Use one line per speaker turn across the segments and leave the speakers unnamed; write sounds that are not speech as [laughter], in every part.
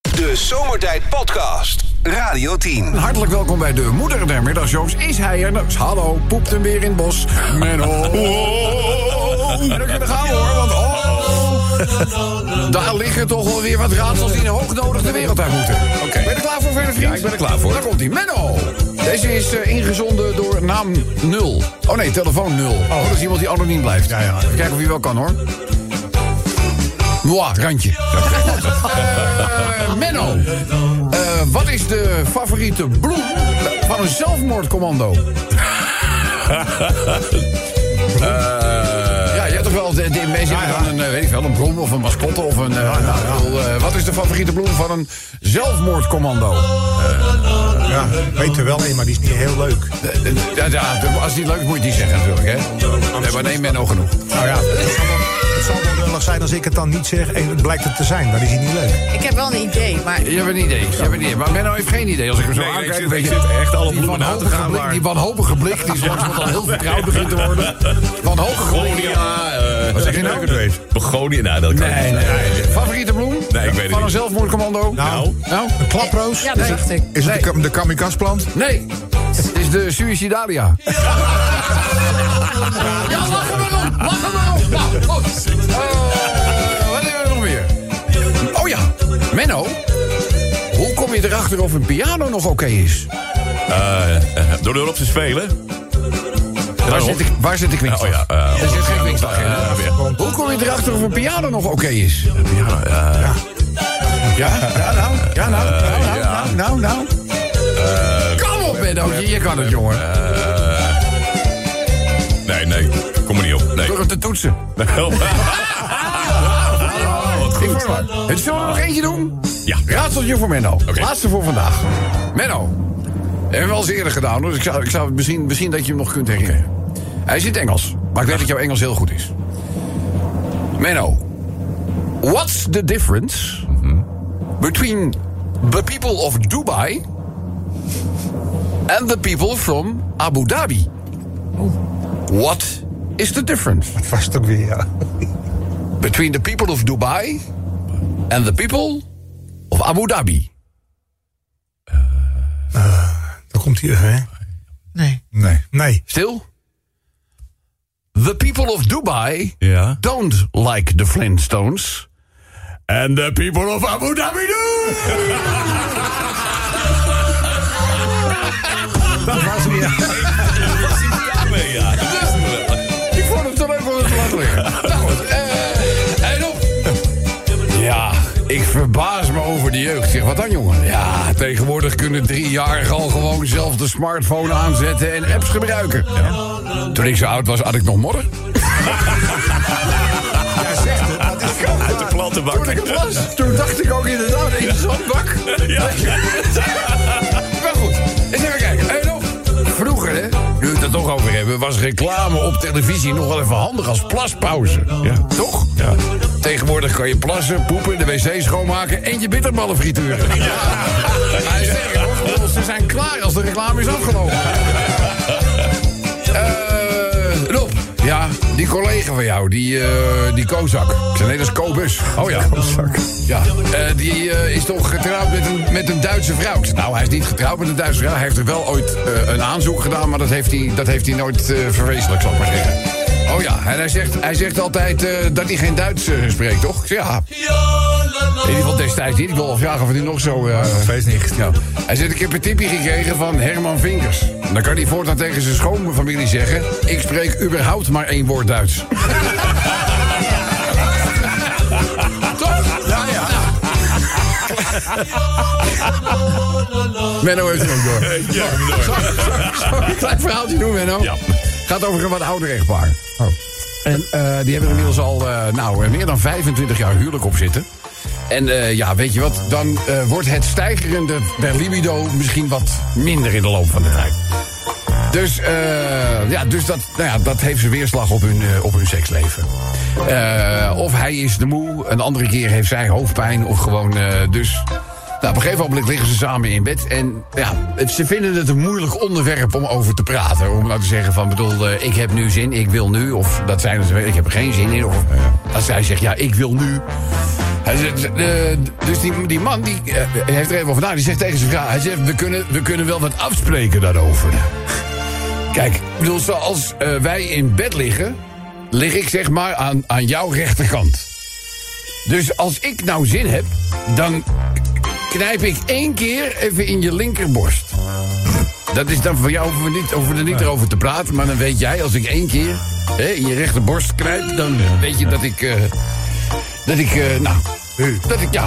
De Zomertijd Podcast. Radio 10.
Hartelijk welkom bij de moeder der middagshows. Is hij er? Nou, hallo, poept hem weer in het bos. [laughs] Menno. En dan kunnen we gaan hoor, want [laughs] oh, daar liggen toch wel weer wat raadsels die in hoognodig de wereld uit moeten. Oké. Ben je er klaar voor, verder vriend? Ja, ik ben er klaar voor. Daar komt hij. Menno. Deze is eh, ingezonden door naam 0. Oh nee, telefoon 0. Oh, dat is iemand die anoniem blijft. Ja, ja. Even kijken of hij wel kan hoor. Mwah, randje. Eh, Menno, eh, wat is de favoriete bloem van een zelfmoordcommando? [laughs] Eh, ja, je hebt toch wel de, de mensen die dan een, eh, weet ik wel, een bloem of een mascotte of een... eh, nou, ik bedoel, eh, wat is de favoriete bloem van een zelfmoordcommando? Eh,
Ja, weet er wel een, maar die is niet heel leuk.
Eh, eh, ja, ja, de- als die leuk is, moet je die zeggen natuurlijk, hè? Nee, maar nee, Menno genoeg.
Nou ja, het zal wel- het zal wel lullig zijn als ik het dan niet zeg en het blijkt het te zijn. Dan is hij niet leuk.
Ik heb wel een idee, maar
Je hebt een idee, je hebt een idee. Maar Menno heeft geen idee. Als ik hem zo
Nee,
aankijk,
ik zit-
weet
ik
je,
zit echt alle
die
bloemen na te
wanhopige
gaan,
blik-
maar-
Die wanhopige blik,
[laughs]
die is langzamerhand al heel vertrouwd begint te worden. Wanhopige blik.
Begonia. eh,
Wat zeg je nou?
ik het weet. Begonia, nou, dat kan
Nee,
niet.
nee, nee. Favoriete bloem?
Nee, ik weet het
Van een
niet.
zelfmoordcommando?
Nou.
Nou?
Klaproos?
ja, dat dacht ik.
Is het de, kam- de kamikazeplant?
Nee. Het is de suicidalia. Ja, lach er maar om. Lach er maar om. Nou, goed. Eh, wat hebben we nog meer? Oh ja, Menno. Hoe kom je erachter of een piano nog oké is?
Eh, eh, Door erop te spelen.
Waar zit, ik, waar zit de kwinkslag?
Oh ja, eh,
er zit geen kwinkslag in. hè?
Eh, weer.
Hoe kom je erachter of een piano nog oké is?
Ja, eh,
Ja, ja, nou, ja, nou, nou, nou,
ja.
Ah,
nou, nou, nou.
Eh,
Kom op, Menno, je, je kan het, jongen.
Nee, nee, kom er niet op. Nee.
Door het te toetsen.
Oh, wat
Ik
goed.
vond het leuk. Het zullen we nog eentje doen?
[laughs] Ja.
Raadseltje voor Menno.
Oké.
Laatste voor vandaag. Menno. Hebben we al eens eerder gedaan, dus ik zou, ik zou misschien, misschien dat je hem nog kunt herinneren. Hij zit Engels, maar ik weet dat jouw Engels heel goed is. Menno. What's the difference between the people of Dubai and the people from Abu Dhabi? What is the difference?
Vast ook weer, ja.
between the people of Dubai and the people of Abu Dhabi.
Dan komt hij, hè?
Nee.
Nee.
Nee.
Still, the people of Dubai
Ja.
don't like the Flintstones, and the people of Abu Dhabi do.
Nee, ja. dat is het wel.
Ik vond hem te leuk om het te laten [laughs] liggen. Nou goed, eh, en op. Ja, ik verbaas me over de jeugd. Zeg, wat dan, jongen? Ja, tegenwoordig kunnen driejarigen al gewoon zelf de smartphone aanzetten en apps gebruiken. Toen ik zo oud was, had ik nog modder.
Ja, zegt het. Dat is gewoon
Uit de
waar.
Toen ik
plantenbak.
het was, toen dacht ik ook inderdaad in de [laughs] zandbak.
Ja.
Maar goed, eens even kijken. Hey, nog. Vroeger, hè, nu we het er toch over hebben, was reclame op televisie nog wel even handig als plaspauze.
Ja.
Toch?
Ja.
Tegenwoordig kan je plassen, poepen, de wc schoonmaken en je bitterballen frituren. Ja. [laughs] Maar sterker nog, ik bedoel, ze zijn klaar als de reclame is afgelopen. Eh, Rob. Ja, die collega van jou, die, eh die Kozak. Ik zei, nee, dat is Kobus. Oh ja.
Zak.
Ja, eh, die eh, is toch getrouwd met een, met een Duitse vrouw? Ik zei, nou, hij is niet getrouwd met een Duitse vrouw. Hij heeft er wel ooit eh, een aanzoek gedaan, maar dat heeft hij, dat heeft hij nooit eh verwezenlijk, zal ik maar zeggen. Oh ja, en hij zegt, hij zegt altijd eh, dat hij geen Duits eh, spreekt, toch? Ik zeg, ja. In ieder geval destijds niet. Ik wil wel vragen of hij nog zo... eh,
Feest niet.
ja. Hij zegt, ik heb een tipje gekregen van Herman Vinkers. Dan kan hij voortaan tegen zijn schoonfamilie zeggen... ik spreek überhaupt maar één woord Duits. [laughs] Toch? Ja, ja. Menno heeft hem ook door.
Ja, door.
[laughs] Zal ik een klein verhaaltje doen, Menno?
Ja.
Gaat over een wat ouder echtpaar. En eh, die hebben inmiddels al eh, nou, eh, meer dan 25 jaar huwelijk op zitten. En eh, ja, weet je wat, dan eh, wordt het stijgerende der libido misschien wat minder in de loop van de tijd. Dus, eh, ja, dus dat, nou ja, dat heeft zijn weerslag op hun, eh, op hun seksleven. Eh, of hij is de moe, een andere keer heeft zij hoofdpijn of gewoon eh, dus... Nou, op een gegeven moment liggen ze samen in bed. En ja, het- ze vinden het een moeilijk onderwerp om over te praten. Om nou te zeggen van, bedoel, eh, ik heb nu zin, eh, ik wil nu. Of dat zijn het, ik heb er geen zin in. Of als zij zegt, ja, ik wil nu. Hij zegt, eh, dus die, die man die, eh, heeft er even over na. Die zegt tegen zijn vrouw: hij zegt, we, kunnen, we kunnen wel wat afspreken daarover. Kijk, ik bedoel, zoals eh, wij in bed liggen, lig ik zeg maar aan, aan jouw rechterkant. Dus als ik nou zin heb, dan knijp ik één keer even in je linkerborst. Dat is dan voor jou, hoeven we, niet, hoeven we er niet over te praten. Maar dan weet jij, als ik één keer hè, in je rechterborst knijp... dan weet je dat ik... eh, dat ik, eh, nou... Dat ik, ja,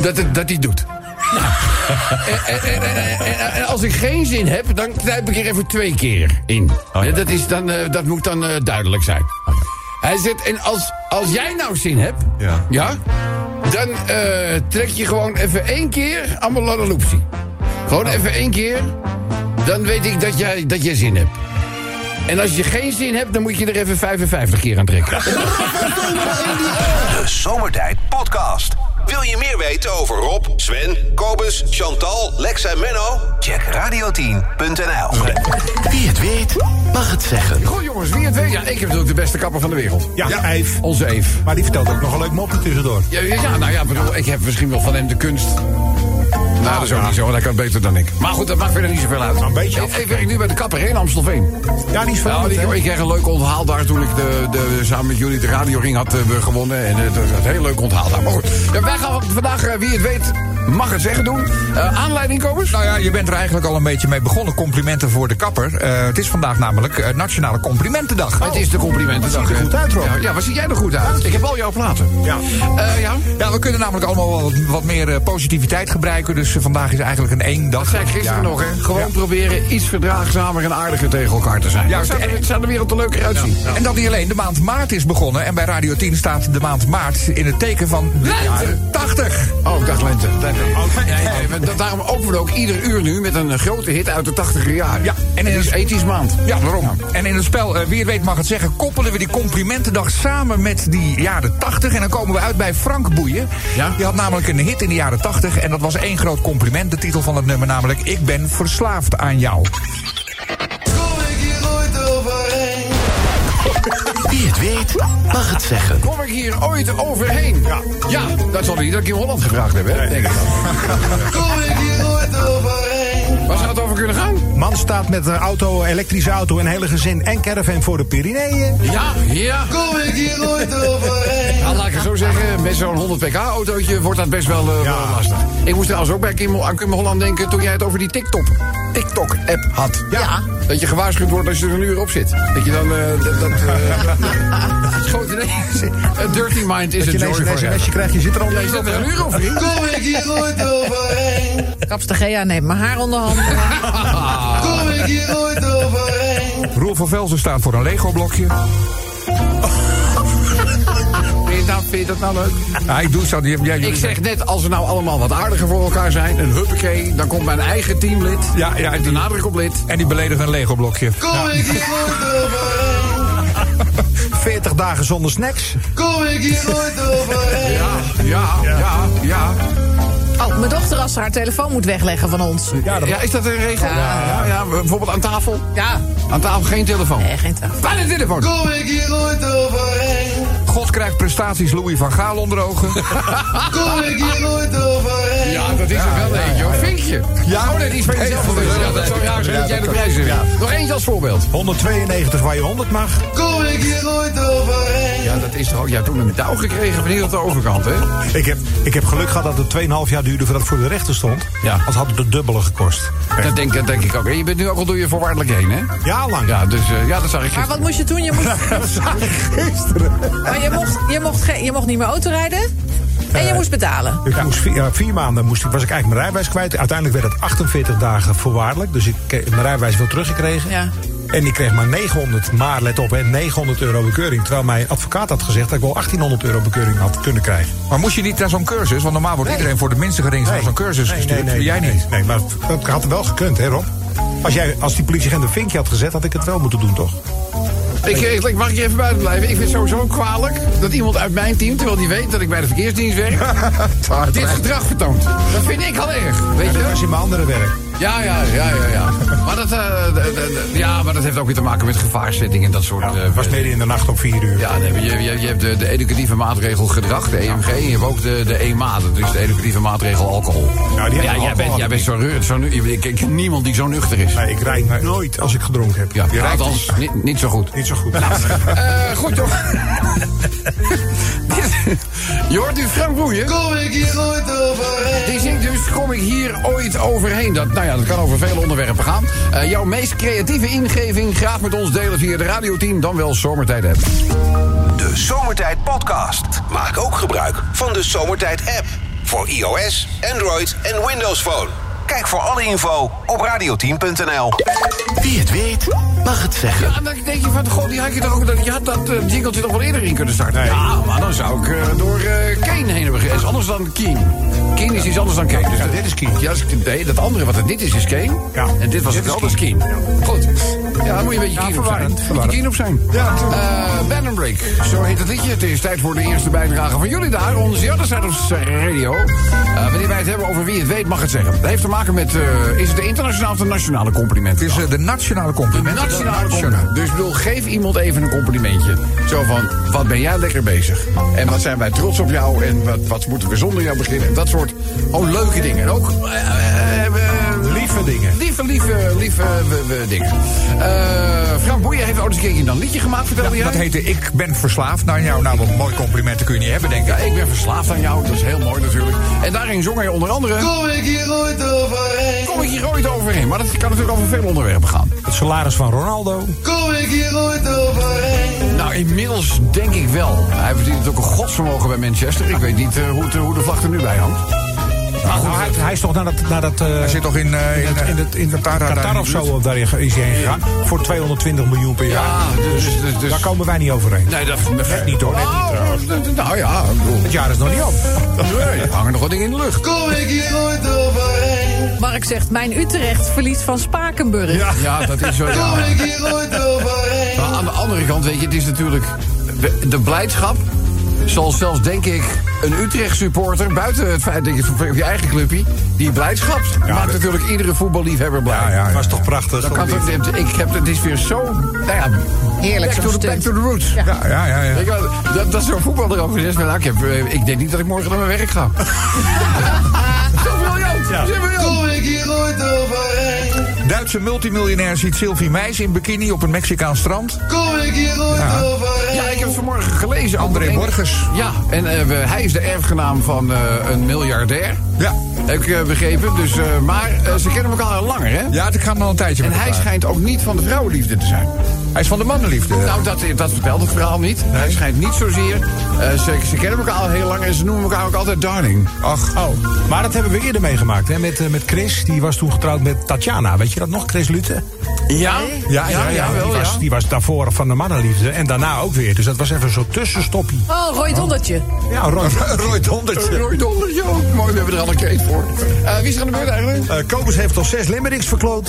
dat, het- dat hij doet. Nou, Eh, en, en- en- en- en- en eh, als ik geen zin heb, dan knijp ik er even twee keer in. Hè, dat, is dan, eh, dat moet dan eh, duidelijk zijn. Hij zegt, en als, als jij nou zin hebt...
Ja.
dan eh, trek je gewoon even één keer aan mijn lalaloopsie. Gewoon even één keer... Dan weet ik dat jij, dat jij zin hebt. En als je geen zin hebt, dan moet je er even 55 keer aan trekken.
De Zomertijd Podcast. Wil je meer weten over Rob, Sven, Kobus, Chantal, Lex en Menno? Check radio10.nl.
Wie het weet, mag het zeggen.
Goh jongens, wie het weet. Ja, ik heb natuurlijk de beste kapper van de wereld.
Ja, Eif.
Onze Eef.
Maar die vertelt ook nog een leuk mopje tussendoor.
Ja, ja, ja, nou ja, bedoel, ik heb misschien wel van hem de kunst. Nou, dat is ook niet zo, want hij kan het beter dan ik. Maar goed, dat maakt verder niet zoveel uit.
een beetje
Ik, ik werk nu bij de kapper hè, in Amstelveen.
Ja, die is
Nou,
veranderd,
die-
hè?
ik kreeg een leuk onthaal daar toen ik de, de, samen met jullie de radioring had eh, we gewonnen. En eh, het was een heel leuk onthaal daar. Maar goed, ja, wij gaan vandaag, eh, wie het weet, mag het zeggen doen. Eh, aanleiding, Kobus?
Nou ja, je bent er eigenlijk al een beetje mee begonnen. Complimenten voor de kapper. Eh, het is vandaag namelijk eh, Nationale Complimentendag.
Het is de complimenten.
ziet er goed uit, Rob.
Ja, ja, wat zie jij er goed uit? Ik heb al jouw platen.
Ja.
Eh, ja?
Ja, we kunnen namelijk allemaal wat, wat meer eh, positiviteit gebruiken. Dus eh, vandaag is eigenlijk een één dag.
Dat zei ik gisteren
Ja.
nog, hè? Gewoon proberen iets verdraagzamer en aardiger tegen elkaar te zijn.
Ja,
Ja, zou, de, zou de wereld er leuker uitzien.
En dat niet alleen, de maand maart is begonnen. En bij Radio 10 staat de maand maart in het teken van de jaren 80.
Oh, ik dacht lente. Nee, nee. Nee, nee, maar dat- daarom openen we ook ieder uur nu met een eh, grote hit uit de 80er jaren.
Ja, en
en het
in
is
het-
ethisch maand.
Ja, daarom. En in het spel, eh, wie het weet mag het zeggen, koppelen we die complimentendag samen met die jaren 80. En dan komen we uit bij Frank Boeien.
Ja.
Die had namelijk een hit in de jaren 80. En dat was één groot compliment. De titel van het nummer namelijk Ik ben verslaafd aan jou.
Wie het weet, mag het zeggen.
Kom ik hier ooit overheen? Ja. Ja, dat zal niet dat ik in Holland gevraagd heb, hè? Denk ik dan. Kom ik hier ooit overheen? Waar zou het over kunnen gaan?
Man staat met een auto, elektrische auto, een hele gezin en caravan voor de Pyreneeën.
Ja, ja. Kom ik hier ooit overheen? Nou, laat ik het zo zeggen, met zo'n 100 pk-autootje wordt dat best wel, eh,
Ja.
wel lastig. Ik moest trouwens ook bij Kim, aan Kim Holland denken toen jij het over die TikTok, TikTok-app had.
Ja.
Dat je gewaarschuwd wordt als je er een uur op zit. Dat je dan... eh, dat, dat, eh,
[laughs]
het schoot ineens. A dirty mind is
Dat
a
je
joy
ineens een
forever.
sms'je krijgt, je zit er al
Ja, je zit er een uur op, vriend. Kom ik hier ooit overheen?
Kapster Gea neemt mijn haar onder handen.
Kom ik hier ooit overheen?
Roel van Velzen staat voor een Lego-blokje.
Vind je dat, vind je dat nou leuk?
Ah, ik doe zo. die- Ja,
Ik
jullie-
zeg net, als we nou allemaal wat aardiger voor elkaar zijn... een huppakee, dan komt mijn eigen teamlid.
Ja, ja,
met de
die-
nadruk op lid.
En die beledigen een Lego-blokje.
40 dagen zonder snacks.
Ja, ja, ja, ja.
Oh, mijn dochter als ze haar telefoon moet wegleggen van ons.
Ja, is dat een regel?
Ja.
ja, ja, bijvoorbeeld aan tafel.
Ja.
Aan tafel geen telefoon.
Nee, geen tafel.
Bij de telefoon.
God krijgt prestaties Louis van Gaal onder ogen.
Ja, dat is er wel een eentje, hoor. Vinkje. Ja, oh nee, die is van jezelf. Ja, dat zou raar zijn dat jij de prijs wint. Nog eentje als voorbeeld.
192 waar je 100 mag.
Ja, dat is toch ook... Ja, toen een touw gekregen van hier op de overkant, hè?
Ik heb, ik heb geluk gehad dat het 2,5 jaar duurde voordat het voor de rechter stond.
Ja.
Anders had het de dubbele gekost.
Dat denk, dat denk ik ook. En je bent nu ook al door je voorwaardelijk heen, hè?
Ja, lang.
Ja, dus eh, ja, dat zag ik
Maar
gisteren.
wat moest je toen? Je moest,
[laughs] Gisteren.
maar je mocht, je, mocht ge- je mocht niet meer autorijden. En
Eh.
je moest betalen.
Ik moest vier, ja, vier maanden moest, ik- was ik eigenlijk mijn rijbewijs kwijt. Uiteindelijk werd het 48 dagen voorwaardelijk. Dus ik kreeg mijn rijbewijs wel teruggekregen.
Ja.
En ik kreeg maar 900, maar let op, hè, 900 euro bekeuring. Terwijl mijn advocaat had gezegd dat ik wel 1800 euro bekeuring had kunnen krijgen.
Maar moest je niet naar zo'n cursus? Want normaal wordt
Nee.
iedereen voor de minste geringste naar zo'n cursus
Nee,
gestuurd.
nee, nee,
jij
nee,
niet.
Nee, maar dat had wel gekund, hè Rob? Als, jij, als die politieagent een vinkje had gezet, had ik het wel moeten doen, toch?
Ik, ik, ik mag hier even buiten blijven. Ik vind het sowieso kwalijk dat iemand uit mijn team, terwijl die weet dat ik bij de
[laughs]
verkeersdienst werk, dit gedrag vertoont. Dat vind ik al erg. Weet je?
Dat
wel?
was in mijn andere werk.
Ja, ja, ja, ja. ja. Maar, dat, eh, d- d- d- ja maar dat heeft ook weer te maken met gevaarzetting en dat soort...
Ja,
eh,
het was midden in de nacht om vier uur.
Ja, nee, maar je, je, je hebt de, de educatieve maatregel gedrag, de EMG. En je hebt ook de, de E EMA, dat is dus de educatieve maatregel alcohol.
Nou, hebben
ja, jij
alcohol,
bent, jij
denk
bent zo, reur- zo nu- ik ik ken niemand die zo nuchter is.
Nee, ik rijd maar nooit als ik gedronken heb.
Ja,
Je rijdt
Nou,
dus
althans, niet, niet zo goed.
niet zo goed. [laughs]
[laughs]
Eh, goed, joh. [laughs] Dit- je hoort nu Frank Boeien. Kom ik hier ooit overheen? Die zingt dus, kom ik hier ooit overheen? Dat, nou ja, dat kan over vele onderwerpen gaan. Eh, jouw meest creatieve ingeving graag met ons delen via de radioteam. Dan wel zomertijd hebben.
De Zomertijd Podcast. Maak ook gebruik van de Zomertijd app. Voor iOS, Android en Windows Phone. Kijk voor alle info op radioteam.nl.
Wie het weet, mag het zeggen.
Ja, en dan denk je van, goh, die had je toch ook, dat- je had dat eh, jingletje toch wel eerder in kunnen starten.
Nee.
Ja, maar dan zou ik eh, door eh Kane heen hebben gegaan. is anders dan Keen. Keen is iets anders dan Kane. Dus
Ja,
dat-
dit is Keen.
Ja, dat is- nee, dat andere wat het dit is, is Kane.
Ja.
En dit was het
is
wel, dat is Keen. Goed. Ja, dan moet je een beetje Keen op zijn.
verwarrend,
Moet je
verwarrend.
Keen op zijn.
Ja, natuurlijk.
Eh, Band and Break, zo heet het liedje. Het is tijd voor de eerste bijdrage van jullie daar. Onze other side of radio. Eh, wanneer wij het hebben over wie het weet, mag het zeggen. Dat heeft te maken met, eh, is het de internationale of de nationale complimenten?
Het is eh, de nationale compliment.
Nationaal compliment. Dus ik bedoel, geef iemand even een complimentje. Zo van, wat ben jij lekker bezig? En wat zijn wij trots op jou? En wat, wat moeten we zonder jou beginnen? En dat soort, oh, leuke dingen. En ook, eh, eh, eh,
Lieve dingen.
lieve, lieve, lieve eh, we- we dingen. Eh, Frank Boeien heeft ooit eens een keertje een liedje gemaakt, vertelde jij?
Dat heette Ik ben verslaafd naar jou. Nou, wat mooi complimenten kun je niet hebben, denk ik.
Ja, ik ben verslaafd aan jou, dat is heel mooi natuurlijk. En daarin zong hij onder andere... Kom ik hier ooit overheen? Kom ik hier ooit overheen? Maar dat kan natuurlijk over veel onderwerpen gaan.
Het salaris van Ronaldo.
Nou, inmiddels denk ik wel. Hij verdient het ook een godsvermogen bij Manchester. Ik weet niet eh, hoe, het, eh, hoe de vlag er nu bij hangt. Maar
Nou,
goed,
hij, hij is toch naar dat... Naar dat eh,
Hij zit toch in, eh, in,
in,
eh,
het, in
Qatar, daar in
Qatar
de
of
buurt?
zo of daar is hij heen gegaan. Voor 220 miljoen per jaar.
ja, dus... dus, dus
Daar komen wij niet overheen.
nee, dat
Net niet, hoor. Net niet,
Nou,
trouwens.
dat- dat- nou ja, ik bedoel,
Het jaar is nog niet op. [laughs]
nee, er hangen nog wat dingen in de lucht.
Mark zegt, mijn Utrecht verliest van Spakenburg.
Ja, dat is zo. Ja. Maar aan de andere kant, weet je, het is natuurlijk. de- De blijdschap zal zelfs, denk ik, een Utrecht-supporter... buiten het feit dat je op je eigen clubje... die blijdschap maakt
dat-
natuurlijk iedere voetballiefhebber blij.
Ja, ja, ja. Was toch prachtig.
Dan kan het, ik heb, het is weer zo... Nou ja,
Heerlijk,
back
zo'n
to, the, back
stunt.
to the roots.
Ja, ja, ja. ja.
Weet je wel, dat, dat zo'n voetballer ook is. Maar nou, ik, heb, eh, ik denk niet dat ik morgen naar mijn werk
[laughs]
ga. Zo briljant!
Ja.
zo briljant.
Duitse multimiljonair ziet Sylvie Meijs in bikini op een Mexicaans strand.
Ja, ik heb het vanmorgen gelezen.
eh. André
Albert Eng-
Borgers.
Ja, en eh, we- hij is de erfgenaam van eh, een miljardair.
Ja.
Heb ik eh, begrepen. Dus, eh, maar eh, ze kennen elkaar al langer, hè?
Ja, ik ga hem al een tijdje
En
met
hij
elkaar.
schijnt ook niet van de vrouwenliefde te zijn.
Hij is van de mannenliefde.
Nou, dat, dat vertelt het verhaal niet. Hij schijnt niet zozeer. eh, ze, ze kennen elkaar al heel lang en ze noemen elkaar ook altijd darling.
Ach,
Oh, maar dat hebben we eerder meegemaakt. Hè? Met, eh, met Chris, die was toen getrouwd met Tatjana. Weet je dat nog, Chris Lutte?
Ja?
die, was, die was daarvoor van de mannenliefde. En daarna ook weer. Dus dat was even zo'n tussenstoppie.
Oh, rooi dondertje.
Ja, Roy. Eh,
Roy Dondertje.
Roy Donner, joh. Mooi, we hebben er al een keet voor. Eh, wie is er aan de beurt eigenlijk?
Eh, Kobus heeft al zes limericks verkloot.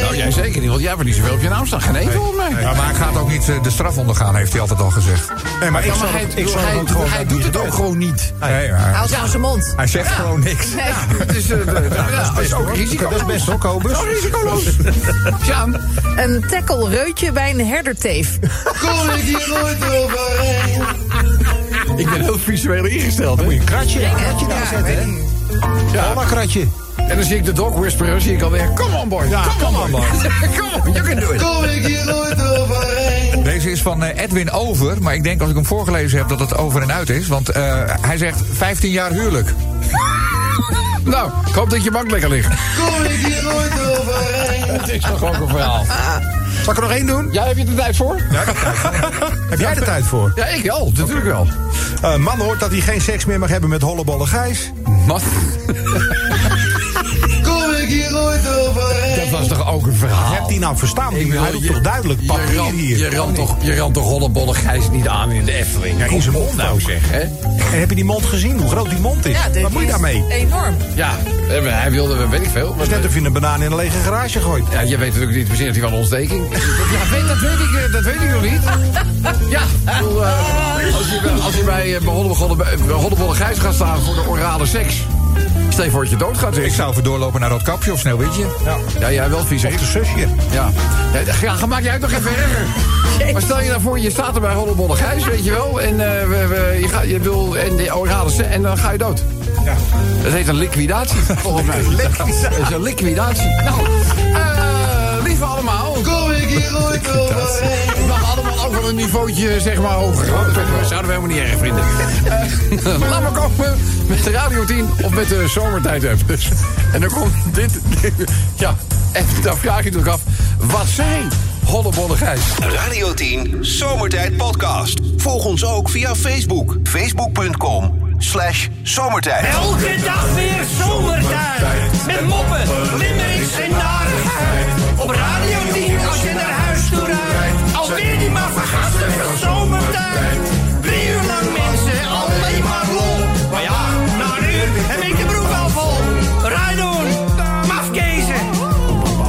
Nou, jij zeker niet, want jij hebt niet zoveel op je naam staan. Geen één volgens mij.
Ja, maar hij gaat ook niet eh, de straf ondergaan, heeft hij altijd al gezegd.
Nee, maar ik
Ja, maar
zal
hij,
het- ik zal
hij-
het ook gewoon...
hij
dat
doet
niet
het ook
doen.
gewoon niet.
Nee, maar
Hou ze aan zijn mond.
hij zegt gewoon niks.
Nee.
Het is, eh, de- de- ja, het is ook
hoor.
risico's.
Dat is best hoor, Kobus.
Dat is risico's. Sjaan.
Een tackle-reutje bij een herderteef.
Ik ben heel visueel ingesteld. hè.
Dan moet je een kratje, een kratje
Ja,
neerzetten,
weet
hè?
Ja.
Oma kratje.
En dan zie ik de dog whisperer, zie ik alweer. Come on, boy.
Ja,
come,
come
on,
on,
boy. [laughs] come on, you can do it.
Deze is van eh, Edwin Over, maar ik denk als ik hem voorgelezen heb dat het over en uit is. Want eh, hij zegt 15 jaar huwelijk.
Nou, ik hoop dat je bank lekker ligt. Het is toch ook een verhaal.
Zal ik er nog één doen?
Jij heb je er tijd voor?
Heb jij de tijd voor?
Ja, ik wel. Natuurlijk wel.
Eh, man hoort dat hij geen seks meer mag hebben met hollebolle Gijs.
Wat? Dat was toch ook een verhaal?
Heb die nou
Oh,
verstaan? Die hij doet toch duidelijk
je
papier
ran,
hier.
Je ran toch, je ran toch hollebolle Gijs niet aan in de Efteling?
Ja, in zijn mond ook.
hè?
En heb je die mond gezien? Hoe groot die mond is?
Ja, dit
Wat moet je
is
daarmee? Het
Enorm.
Ja, eh, maar hij wilde, weet ik veel.
is
maar-
net of je een banaan in een lege garage gooit.
ja, je weet natuurlijk niet precies dat hij van ontsteking. Ja, weet, dat, weet ik, eh, dat weet ik nog [laughs] niet. Ja, ik bedoel, eh, als je bij- als je bij eh, bij Hollebolle bij- bij Hollebolle Gijs gaat staan voor de orale seks... Stel je voor dat je doodgaat.
Ik
zeg.
zou even doorlopen naar Roodkapje of Sneeuwwitje.
Ja.
Ja, ja, wel vies. hè?
Of de zusje.
Ja. Ja, ja, maak jij het nog even erger. Maar stel je nou voor, je staat er bij Rollenbolle Gijs, weet je wel. En, eh, we, we- je gaat, je wil, en, de- oh, je haalt ze- en dan ga je dood.
Ja.
Dat heet een liquidatie, [laughs] volgens mij. Dat is een liquidatie. Nou, eh, lieve allemaal. Kom ik hier, ik We mag allemaal ook wel een niveautje, zeg maar, hoger. hoor. Dat vinden we- zouden we helemaal niet erg vinden. Eh, laat maar komen met de Radio 10 of met de Zomertijd-app. Dus, en dan komt dit, Ja, en dan vraag je natuurlijk af, wat zijn hollebolle Gijs?
Radio 10 Zomertijd Podcast. Volg ons ook via Facebook. Facebook.com slash zomertijd.
Elke dag weer zomertijd. Met moppen, limmerings en narigheid. Op Radio 10 als je naar huis toe rijdt. Alweer die maar vergasten van zomertijd. Drie uur lang mensen, alleen maar lol. Maar ja, na een uur heb ik de broek al vol. Rijdoen, mafkezen.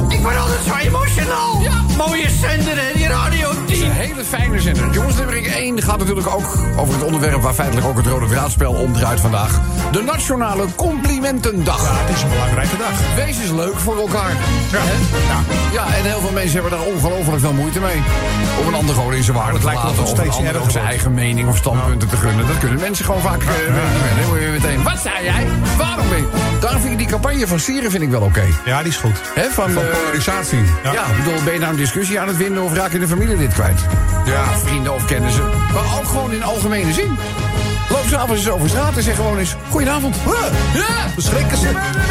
Ik word altijd zo emotional. Mooie zender hè, die Radio 10.
Een hele fijne zender. Jongens, nummering 1 gaat natuurlijk ook over het onderwerp waar feitelijk ook het rode draadspel om draait vandaag. De Nationale Complimentendag.
Het is een belangrijke dag.
Wees eens leuk voor elkaar. Ja. ja, en heel veel mensen hebben daar ongelooflijk veel moete mee. Om een ander gewoon in zijn waarde
het
te
lijkt
laten.
wel
of
steeds
een ander ook
erger
zijn
wordt.
eigen mening of standpunten te gunnen. Dat kunnen mensen gewoon vaak eh, niet meer. Dan word je meteen, wat zei jij? Waarom ben je? Daarom vind ik die campagne van Sieren vind ik wel oké.
Ja, die is goed.
Hè, Van, eh,
Polarisatie.
ja. ik bedoel, ben je nou een discussie aan het winnen of raak je de familie dit kwijt?
Ja.
Of vrienden of kennissen. Maar ook gewoon in algemene zin. Loop s'avonds eens over straat en zeg gewoon eens: Goedenavond. Ja!
Schrikken ze.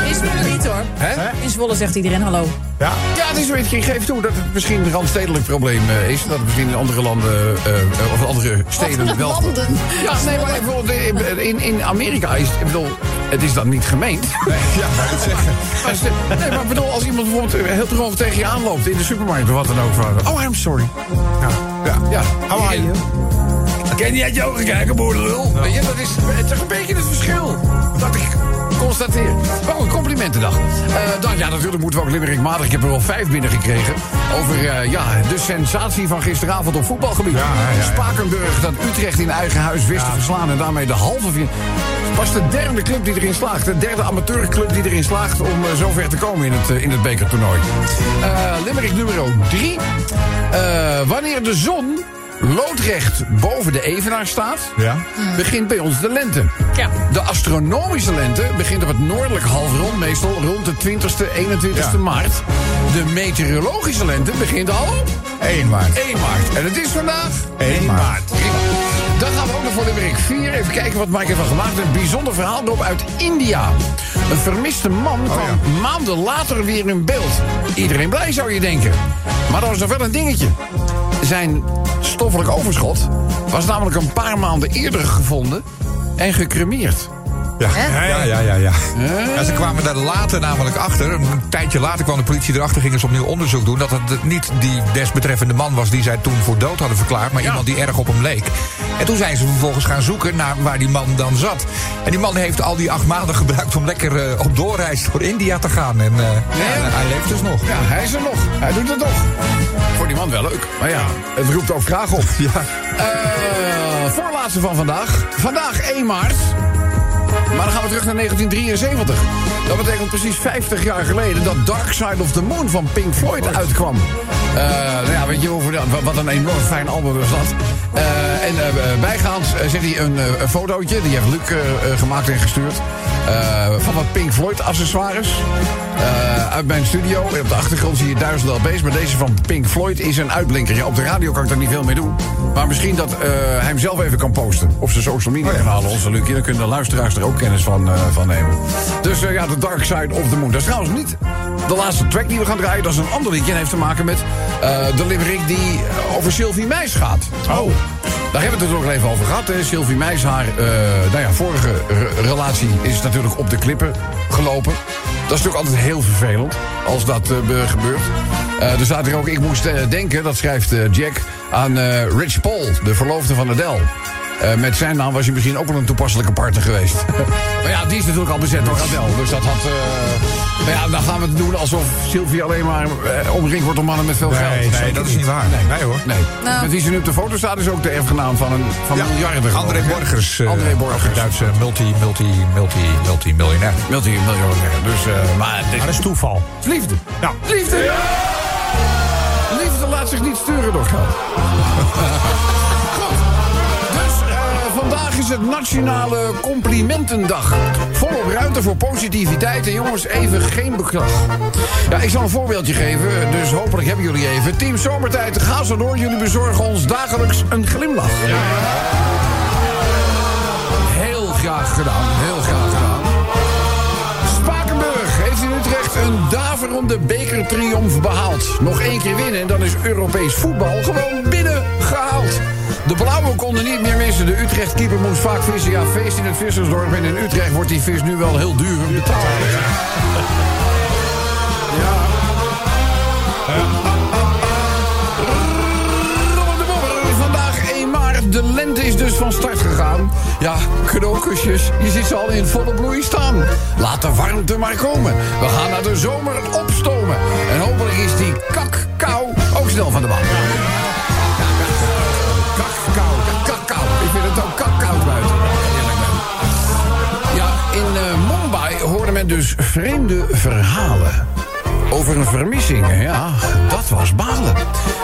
In Zwolle niet hoor.
Hè?
In Zwolle zegt iedereen hallo.
Ja.
Ja, het is een beetje, ik geef toe dat het misschien een randstedelijk probleem eh, is. Dat het misschien in andere landen eh, eh, of in andere steden
Andere
wel.
landen.
Ja, nee, maar bijvoorbeeld eh, in, in Amerika is. Ik bedoel, het is dan niet gemeend. Nee, ja, maar, [laughs] als de- nee, maar ik bedoel, als iemand bijvoorbeeld eh, heel droog tegen je aanloopt in de supermarkt of wat dan ook. van, Oh, I'm sorry. Ja, ja.
How are you?
Ken jij het ogen kijken, boerenlul? Weet je, dat is, het is een beetje het verschil. Dat ik constateer. Maar goed, complimentendag. Eh dan, ja, natuurlijk moeten we ook Limerick matig. Ik heb er wel vijf binnengekregen. Over eh, ja, de sensatie van gisteravond op voetbalgebied.
ja, ja.
Spakenburg dat Utrecht in eigen huis wist te verslaan. En daarmee de halve finale. Pas de derde club die erin slaagt. De derde amateurclub die erin slaagt om eh, zo ver te komen in het, eh, in het bekertoernooi. Eh Limerick nummer 3. wanneer de zon loodrecht boven de evenaar staat,
Ja.
begint bij ons de lente.
Ja.
De astronomische lente begint op het noordelijk halfrond, meestal rond de 20e, 21e
Ja.
maart. De meteorologische lente begint al op
1 maart.
1 maart. En het is vandaag
1 maart.
Prima. Dan gaan we ook nog voor Limerick 4. Even kijken wat Mike ervan gemaakt. Een bijzonder verhaal erop uit India. Een vermiste man kwam maanden later weer in beeld. Iedereen blij zou je denken. Maar dat was nog wel een dingetje. Zijn stoffelijk overschot was namelijk een paar maanden eerder gevonden en gecremeerd.
Ja, ja, ja, ja. ja. Ja, ze kwamen daar later namelijk achter. Een tijdje later kwam de politie erachter, gingen ze opnieuw onderzoek doen. Dat het niet die desbetreffende man was die zij toen voor dood hadden verklaard, maar iemand die erg op hem leek. En toen zijn ze vervolgens gaan zoeken naar waar die man dan zat. En die man heeft al die acht maanden [laughs] gebruikt om lekker eh, op doorreis door India te gaan. En eh, ja, hij leeft dus nog.
Ja, hij is er nog. Hij doet het nog. Voor die man wel leuk. Maar ja, het roept ook vragen op.
Ja.
Eh, voorlaatste van vandaag. Vandaag 1 maart. Maar dan gaan we terug naar 1973. Dat betekent precies 50 jaar geleden dat Dark Side of the Moon van Pink Floyd uitkwam. Eh, nou ja, weet je wel, voor de- wat een enorm fijn album was dat. Eh, en eh, bijgaans eh, zet hij een, eh, een fotootje, die heeft Luc eh, eh, gemaakt en gestuurd. eh, van wat Pink Floyd accessoires. Eh, uit mijn studio. En op de achtergrond zie je duizenden LP's. Maar deze van Pink Floyd is een uitblinker. Ja, op de radio kan ik daar niet veel mee doen. Maar misschien dat eh, hij hem zelf even kan posten. Op zijn social media kanalen, onze Lucie. Dan kunnen de luisteraars er ook kennis van, eh, van nemen. Dus eh, ja, The Dark Side of the Moon. Dat is trouwens niet de laatste track die we gaan draaien. Dat is een ander liedje. En heeft te maken met eh, de limerick die eh, over Sylvie Meis gaat. Oh. Daar hebben we het er ook even over gehad. Hè. Sylvie Meis, haar eh, nou ja, vorige re- relatie is natuurlijk op de klippen gelopen. Dat is natuurlijk altijd heel vervelend als dat eh, be- gebeurt. Eh, er staat hier ook, ik moest eh, denken, dat schrijft eh, Jack, aan eh, Rich Paul, de verloofde van Adele. Eh, met zijn naam was hij misschien ook wel een toepasselijke partner geweest. [laughs] maar ja, die is natuurlijk al bezet door Adele. Dus dat had... eh, maar ja, dan gaan we het doen alsof Sylvie alleen maar eh, omringd wordt door mannen met veel geld.
Nee, nee, dat is niet waar. Nee, hoor.
Nee.
Nou.
Met wie ze nu op de foto staat is ook de erfgenaam van een van
Ja,
miljarden.
André
geloof ik, hè?
Borgers. eh,
André Borgers.
ook een Duitse multi, multi, multi, multi miljonair.
Multimiljonair. Dus, eh, maar het is-
Maar dat is toeval.
liefde.
Ja.
Liefde! Liefde laat zich niet sturen door geld. [laughs] Goed. Dus eh, Vandaag is het Nationale Complimentendag. Volop ruimte voor positiviteit en jongens, even geen beklag. Ja, ik zal een voorbeeldje geven, dus hopelijk hebben jullie even. Team Zomertijd, ga zo door. Jullie bezorgen ons dagelijks een glimlach. Heel graag gedaan, heel graag gedaan. Spakenburg heeft in Utrecht een daverende bekertriomf behaald. Nog één keer winnen en dan is Europees voetbal gewoon binnengehaald. De Blauwen konden niet meer missen. De Utrecht-keeper moest vaak vissen. Ja, feest in het vissersdorp. En in Utrecht wordt die vis nu wel heel duur betaald. Robert de Bobber, Eh, vandaag 1 maart. De lente is dus van start gegaan. Ja, knokusjes, je ziet ze al in volle bloei staan. Laat de warmte maar komen. We gaan naar de zomer opstomen. En hopelijk is die kakkou ook snel van de baan. Kakkou, kakkou. Ik vind het ook kakkoud buiten. Eerlijk ben. Ja, in eh, Mumbai hoorde men dus vreemde verhalen. Over een vermissing, ja, dat was balen.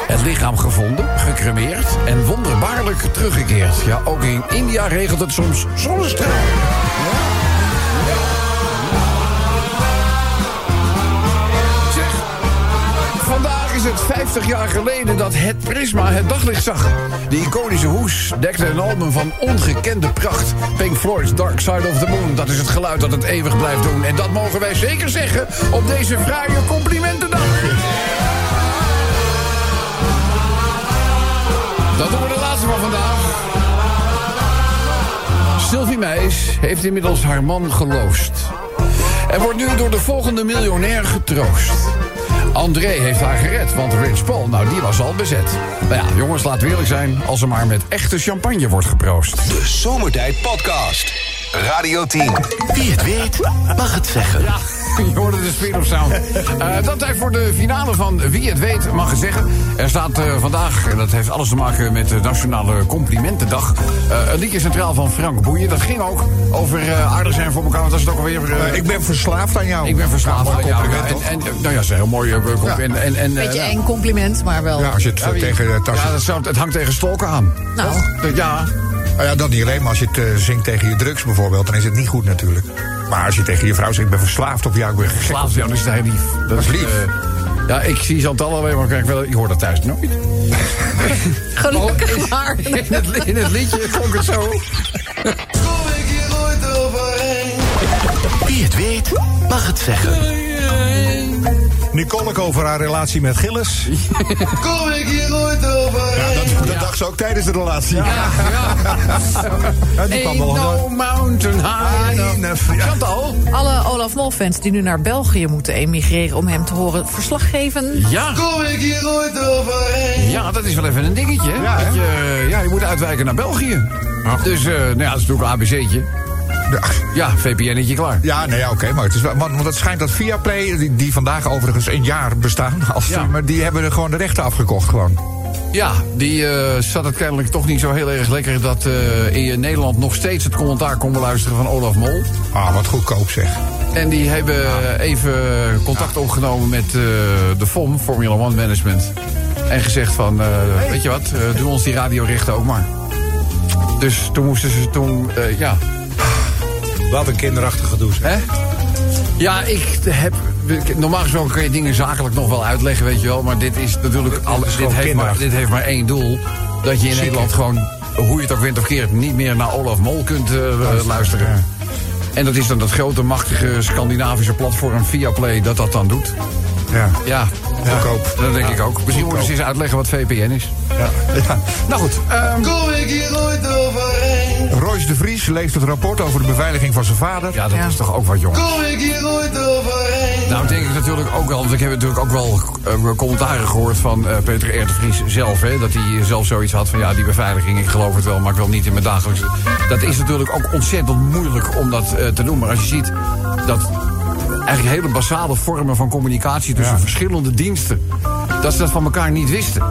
Het lichaam gevonden, gecremeerd en wonderbaarlijk teruggekeerd. Ja, ook in India regelt het soms zonnestralen. Zeg, Vandaag is het 50 jaar geleden dat het Prisma het daglicht zag. De iconische hoes dekte een album van ongekende pracht. Pink Floyd's Dark Side of the Moon. Dat is het geluid dat het eeuwig blijft doen. En dat mogen wij zeker zeggen op deze fraaie complimentendag. Dat doen we de laatste van vandaag. Sylvie Meis heeft inmiddels haar man geloost. En wordt nu door de volgende miljonair getroost. André heeft haar gered, want Rich Paul, nou die was al bezet. Nou ja, jongens, laten we eerlijk zijn, als er maar met echte champagne wordt geproost.
De Zomertijd Podcast. Radio 10.
Wie het weet, mag het zeggen.
[laughs] Je hoorde de speed of sound. Eh, dat tijd voor de finale van Wie het weet mag het zeggen. Er staat eh, vandaag, en dat heeft alles te maken met de Nationale Complimentendag... eh, een liedje centraal van Frank Boeien. Dat ging ook over eh, aardig zijn voor elkaar, want dat is het ook alweer... eh,
Ik ben verslaafd aan jou.
ik ben verslaafd aan jou.
compliment,
Ja, en,
toch?
en, nou ja, dat is een heel mooi eh, compliment. En, en, en, eh,
Beetje
ja.
eng compliment, maar wel.
Ja, als je het eh, tegen de tas...
Ja, dat zou, het hangt tegen stolken aan.
Nou.
Toch? Ja.
Nou ja, dat niet alleen, maar als je het eh, zingt tegen je drugs bijvoorbeeld... dan is het niet goed natuurlijk. Maar als je tegen je vrouw zegt, ik ben verslaafd of ja, ik ben gek.
Slaap jou, dat is heel lief.
Dat is lief.
eh, ja, ik zie Chantal alleen maar. Kijk, wel, ik hoor dat thuis nooit.
Gelukkig maar.
[laughs] In Oh, het, li- in het liedje klonk het zo.
Wie het weet, mag het zeggen.
Nicole over haar relatie met Gilles.
Ja, dat, dat dacht ze ook tijdens de relatie.
Ja, die kwam
Ain't
wel
no
door.
mountain high enough.
enough.
Chantal?
Alle Olaf Mol-fans die nu naar België moeten emigreren om hem te horen verslag geven.
Ja. Kom ik hier ooit overheen? Ja, dat is wel even een dingetje. hè?
Ja, hè?
Dat je, eh, ja, je moet uitwijken naar België. Dus, eh, nou ja, dat is natuurlijk een ABC'tje. Ja, VPN'tje klaar.
Ja, nee, ja, oké, maar het is wel, want, want het schijnt dat Viaplay, die, die vandaag overigens een jaar bestaan, als,
Ja.
maar die hebben er gewoon de rechten afgekocht gewoon.
Ja, die eh, zat het kennelijk toch niet zo heel erg lekker... dat eh, in Nederland nog steeds het commentaar kon beluisteren van Olaf Mol.
Ah, wat goedkoop zeg.
En die hebben even contact opgenomen met eh, de FOM, Formula One Management. En gezegd van, eh, weet je wat, eh, doe ons die radiorechten ook maar. Dus toen moesten ze toen, eh, ja,
Wat een kinderachtige gedoe. zeg.
hè? Ja, ik heb... Normaal gesproken kun je dingen zakelijk nog wel uitleggen, weet je wel. Maar dit is natuurlijk... Al,
is
dit,
gewoon
heeft maar,
kinderachtig.
dit heeft maar één doel. Dat je in Nederland gewoon, hoe je het ook wint of keert... niet meer naar Olaf Mol kunt eh, luisteren. En dat is dan dat grote, machtige Scandinavische platform Viaplay dat dat dan doet.
Ja.
Ja,
Goedkoop.
dat denk ik ook. Misschien moeten ze eens uitleggen wat VPN is.
Ja. Ja.
Nou goed, ehm,
Royce de Vries leest het rapport over de beveiliging van zijn vader.
ja, dat
Ja.
is toch ook wat, jongens. Nou, denk ik natuurlijk ook wel, want ik heb natuurlijk ook wel eh, commentaren gehoord van eh, Peter R. de Vries zelf. Hè, dat hij zelf zoiets had van ja, die beveiliging, ik geloof het wel, maar ik wil niet in mijn dagelijkse. Dat is natuurlijk ook ontzettend moeilijk om dat eh, te doen. Maar als je ziet dat eigenlijk hele basale vormen van communicatie tussen verschillende diensten. Dat ze dat van elkaar niet wisten.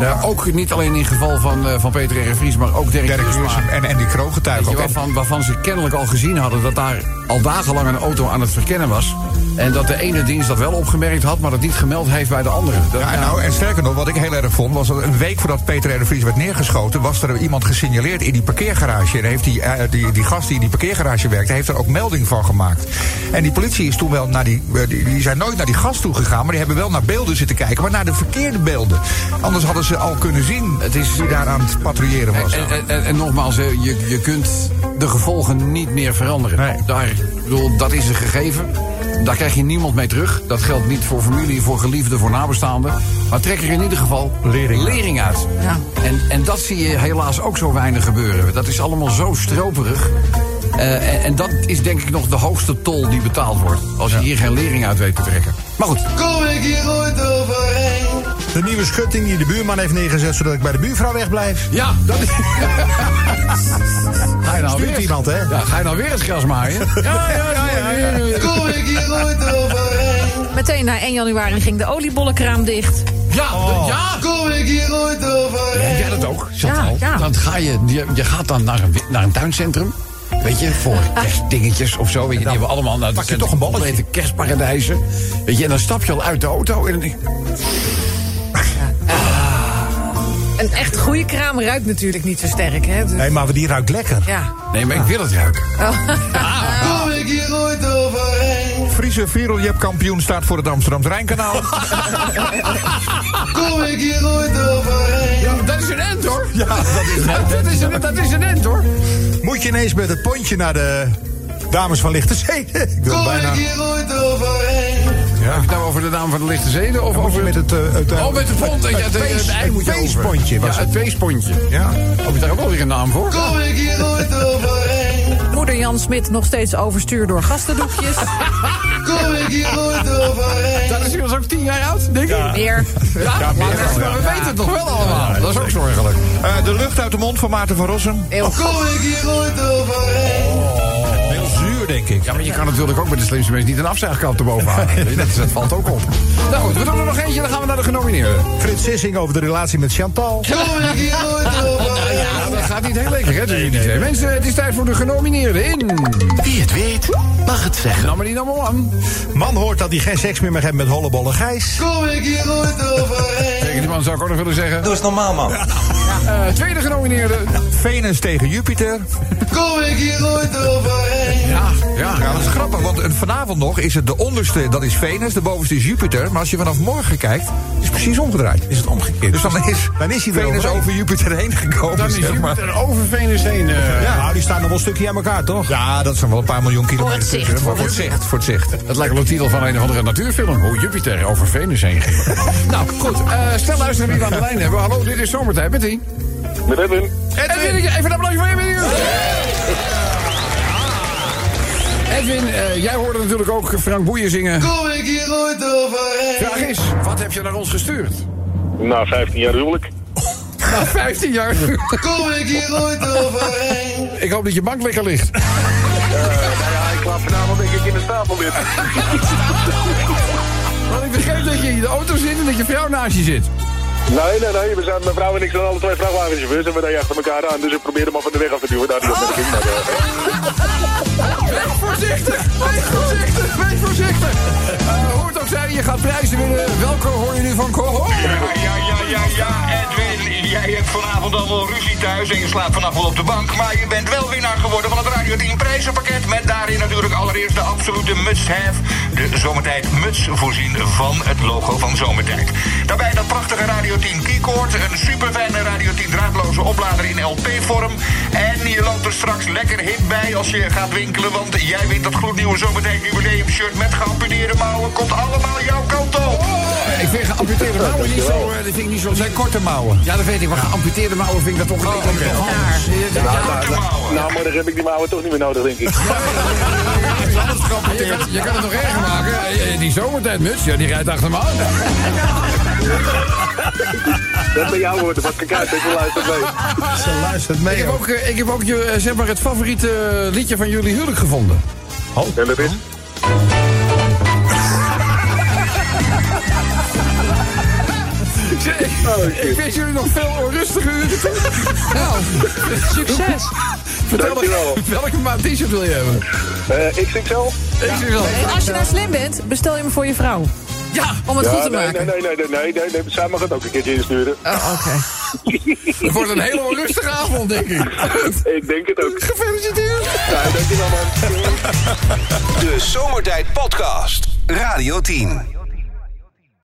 Ja, ook niet alleen in het geval van, eh, van Peter R. de Vries, maar ook Dirk,
Dirk
Dielsma.
Juursen en, en die kroongetuigen.
Weet je,
ook. En-
waarvan, waarvan ze kennelijk al gezien hadden dat daar al dagenlang een auto aan het verkennen was. En dat de ene dienst dat wel opgemerkt had, maar dat niet gemeld heeft bij de andere. Dat-
Ja, en nou, en sterker nog, wat ik heel erg vond, was dat een week voordat Peter R. de Vries werd neergeschoten, was er iemand gesignaleerd in die parkeergarage. En heeft die, eh, die, die gast die in die parkeergarage werkte, heeft er ook melding van gemaakt. En die politie is toen wel naar die, eh, die, die zijn nooit naar die gast toe gegaan, maar die hebben wel naar beelden zitten kijken, maar naar de verkeerde beelden. Anders hadden ze al kunnen zien
Het is-
wie daar aan het patrouilleren was.
en, en, en, en nogmaals, hè, je, je kunt de gevolgen niet meer veranderen.
Nee.
Daar, ik bedoel, dat is een gegeven. Daar krijg je niemand mee terug. Dat geldt niet voor familie, voor geliefden, voor nabestaanden. Maar trek er in ieder geval lering, uit.
Ja.
En, en dat zie je helaas ook zo weinig gebeuren. Dat is allemaal zo stroperig. Eh, en, en dat is denk ik nog de hoogste tol die betaald wordt. Als je hier geen lering uit weet te trekken. Maar goed,
De nieuwe schutting die de buurman heeft neergezet, zodat ik bij de buurvrouw wegblijf.
ja, dat [laughs] is. ga je nou
Stuurt
weer?
iemand, hè?
Ja, ga je nou weer het gras maaien? [laughs] Ja, ja, ja, ja. ja.
Meteen na 1 januari ging de oliebollenkraam dicht.
Ja, ja. Heb Oh. jij dat ook, Chantal?
Ja, ja.
Dan ga je, je, je gaat dan naar een, wi- naar een tuincentrum. Weet je, voor kerstdingetjes of zo. Weet je, die hebben allemaal nou, naar pak je toch een balletje. kerstparadijzen. Weet je, en dan stap je al uit de auto. En dan denk je,
Een echt goede kraam ruikt natuurlijk niet zo sterk, hè? Dus-
Nee, maar die ruikt lekker.
Ja.
nee, maar ik wil het ruiken.
Friese Vireljeep kampioen staat voor het Amsterdamse
[laughs]
Rijnkanaal.
Ja, Oh, dat is een end, hoor. Ja, dat is een end. [laughs] Dat is een, dat is een end, hoor.
Moet je ineens met het pontje naar de dames van Lichte Zee? [laughs] Ik wil bijna.
Heb je het nou over de naam van de Lichte Zeden? Of
Moet je
over
met het... eh, het, eh,
Oh, met de pont. en ja,
het
de-
feest-
het ei moet je
het
over.
feestpontje was
Ja, het feestpontje.
Ja.
Heb je daar ook wel weer een naam voor?
Moeder Jan Smit nog steeds overstuur door
[laughs]
gastendoekjes.
Dat is inmiddels ook tien jaar oud, Nou, denk ik.
Meer.
Ja, maar dat- maar we weten het nog wel allemaal. dat is ook zorgelijk.
Eh, de lucht uit de mond van Maarten van Rossum.
Eeuw.
Oh.
Heel zuur, denk ik.
Ja, maar je kan natuurlijk ook bij de slimste mensen niet een afzuigkap erboven halen. Weet je, dat, is- dat valt ook op. Nou goed, we doen er nog eentje, dan gaan we naar de genomineerden.
Frits Sissing over de relatie met Chantal.
Ja, Nou, dat gaat niet heel lekker, hè? tussen die twee Mensen, het is tijd voor de genomineerden in...
Wie het weet, mag het zeggen.
Nummer die number one.
Man hoort dat hij geen seks meer mag hebben met hollebolle Gijs.
Tegen die man zou ik ook nog willen zeggen.
Doe eens normaal, man.
Eh, tweede genomineerde.
Venus tegen Jupiter.
Ja, ja.
Ja, dat is grappig, want eh, vanavond nog is het de onderste, dat is Venus, de bovenste is Jupiter. Maar als je vanaf morgen kijkt, is het precies omgedraaid.
Is het omgekeerd?
Dus dan is,
Dan is hij er
Venus
overheen.
over Jupiter heen gekomen.
Dan is
zeg maar.
Jupiter over Venus heen. eh.
Ja, nou, die staan nog wel een stukje aan elkaar, toch?
Ja, dat zijn wel een paar miljoen kilometer.
het zicht,
tussen, maar
voor
voor het zicht. Voor het zicht.
Het lijkt wel de titel van een of andere natuurfilm. Hoe Jupiter over Venus heen ging. nou, goed. eh, stel luisteren wie we aan de lijn hebben. Hallo, dit is Zomertijd met die.
Met Edwin.
Edwin, even een applausje voor Edwin. Edwin, eh, jij hoorde natuurlijk ook Frank Boeien zingen. Vraag is, wat heb je naar ons gestuurd?
Na 15 jaar huwelijk.
Na 15 jaar. Ik hoop dat je bank lekker ligt.
Ja, ik laat vanavond denk ik in de stapel dit.
Want ik begreep dat je in de auto zit en dat je vrouw naast je zit.
Nee, nee, nee. We zijn, mijn vrouw en ik zijn alle twee vrachtwagenchauffeurs en we rijden achter elkaar aan. Dus ik probeer hem al van de weg af te duwen. Daar die opmerking. Maar, eh,
Voorzichtig, wees voorzichtig, wees voorzichtig. Eh, hoort ook zij, je gaat prijzen winnen. Welke Koken hoor je nu van Koken.
Ja, ja, ja, ja, Edwin, jij hebt vanavond allemaal ruzie thuis en je slaapt vanaf wel op de bank. Maar je bent wel winnaar geworden van het Radio 10 prijzenpakket. Met daarin natuurlijk allereerst de absolute must-have. De Zomertijd muts voorzien van het logo van Zomertijd. Daarbij dat prachtige Radio 10 keycord. Een super fijne Radio 10 draadloze oplader in LP-vorm. En je loopt er straks lekker hip bij als je gaat winkelen. Want jij wint dat gloednieuwe Zomertijd jubileum shirt met geamputeerde mouwen. Komt allemaal jouw kant op.
Ik vind geamputeerde mouwen niet zo... eh, dat vind ik niet zo
zijn korte mouwen.
ja, dat weet ik, maar geamputeerde mouwen vind ik dat toch...
oké.
toch anders. Ja,
Nou, nou, nou,
Nou, morgen heb ik die mouwen toch niet meer nodig, denk ik.
Je kan, het- je kan het nog erger maken. Eh, eh, Die zomertijdmuts, ja, die rijdt achter me aan.
Dat bij jou worden, wat kijk uit, ik wil luisteren mee.
Ze luistert
Ik
mee.
heb ook, eh, ik heb ook je, eh, zeg maar, het favoriete eh, liedje van jullie huwelijk gevonden.
En dat is...
Ik wens jullie nog veel onrustige uren toe. Nou,
Succes.
vertel
Dankjewel.
me, welke maat t-shirt wil je hebben?
eh XXL?
Ik zeg wel.
En als je nou slim bent, bestel je hem voor je vrouw.
Ja,
Om het goed te
nee,
maken.
nee, nee, nee, nee, nee, nee, nee, Zij mag het ook een keertje insturen.
Oh, oké.
het wordt een hele onrustige avond, denk ik.
Ik denk het ook.
Gefeliciteerd.
Ja, dankjewel man.
De Zomertijd Podcast. Radio 10.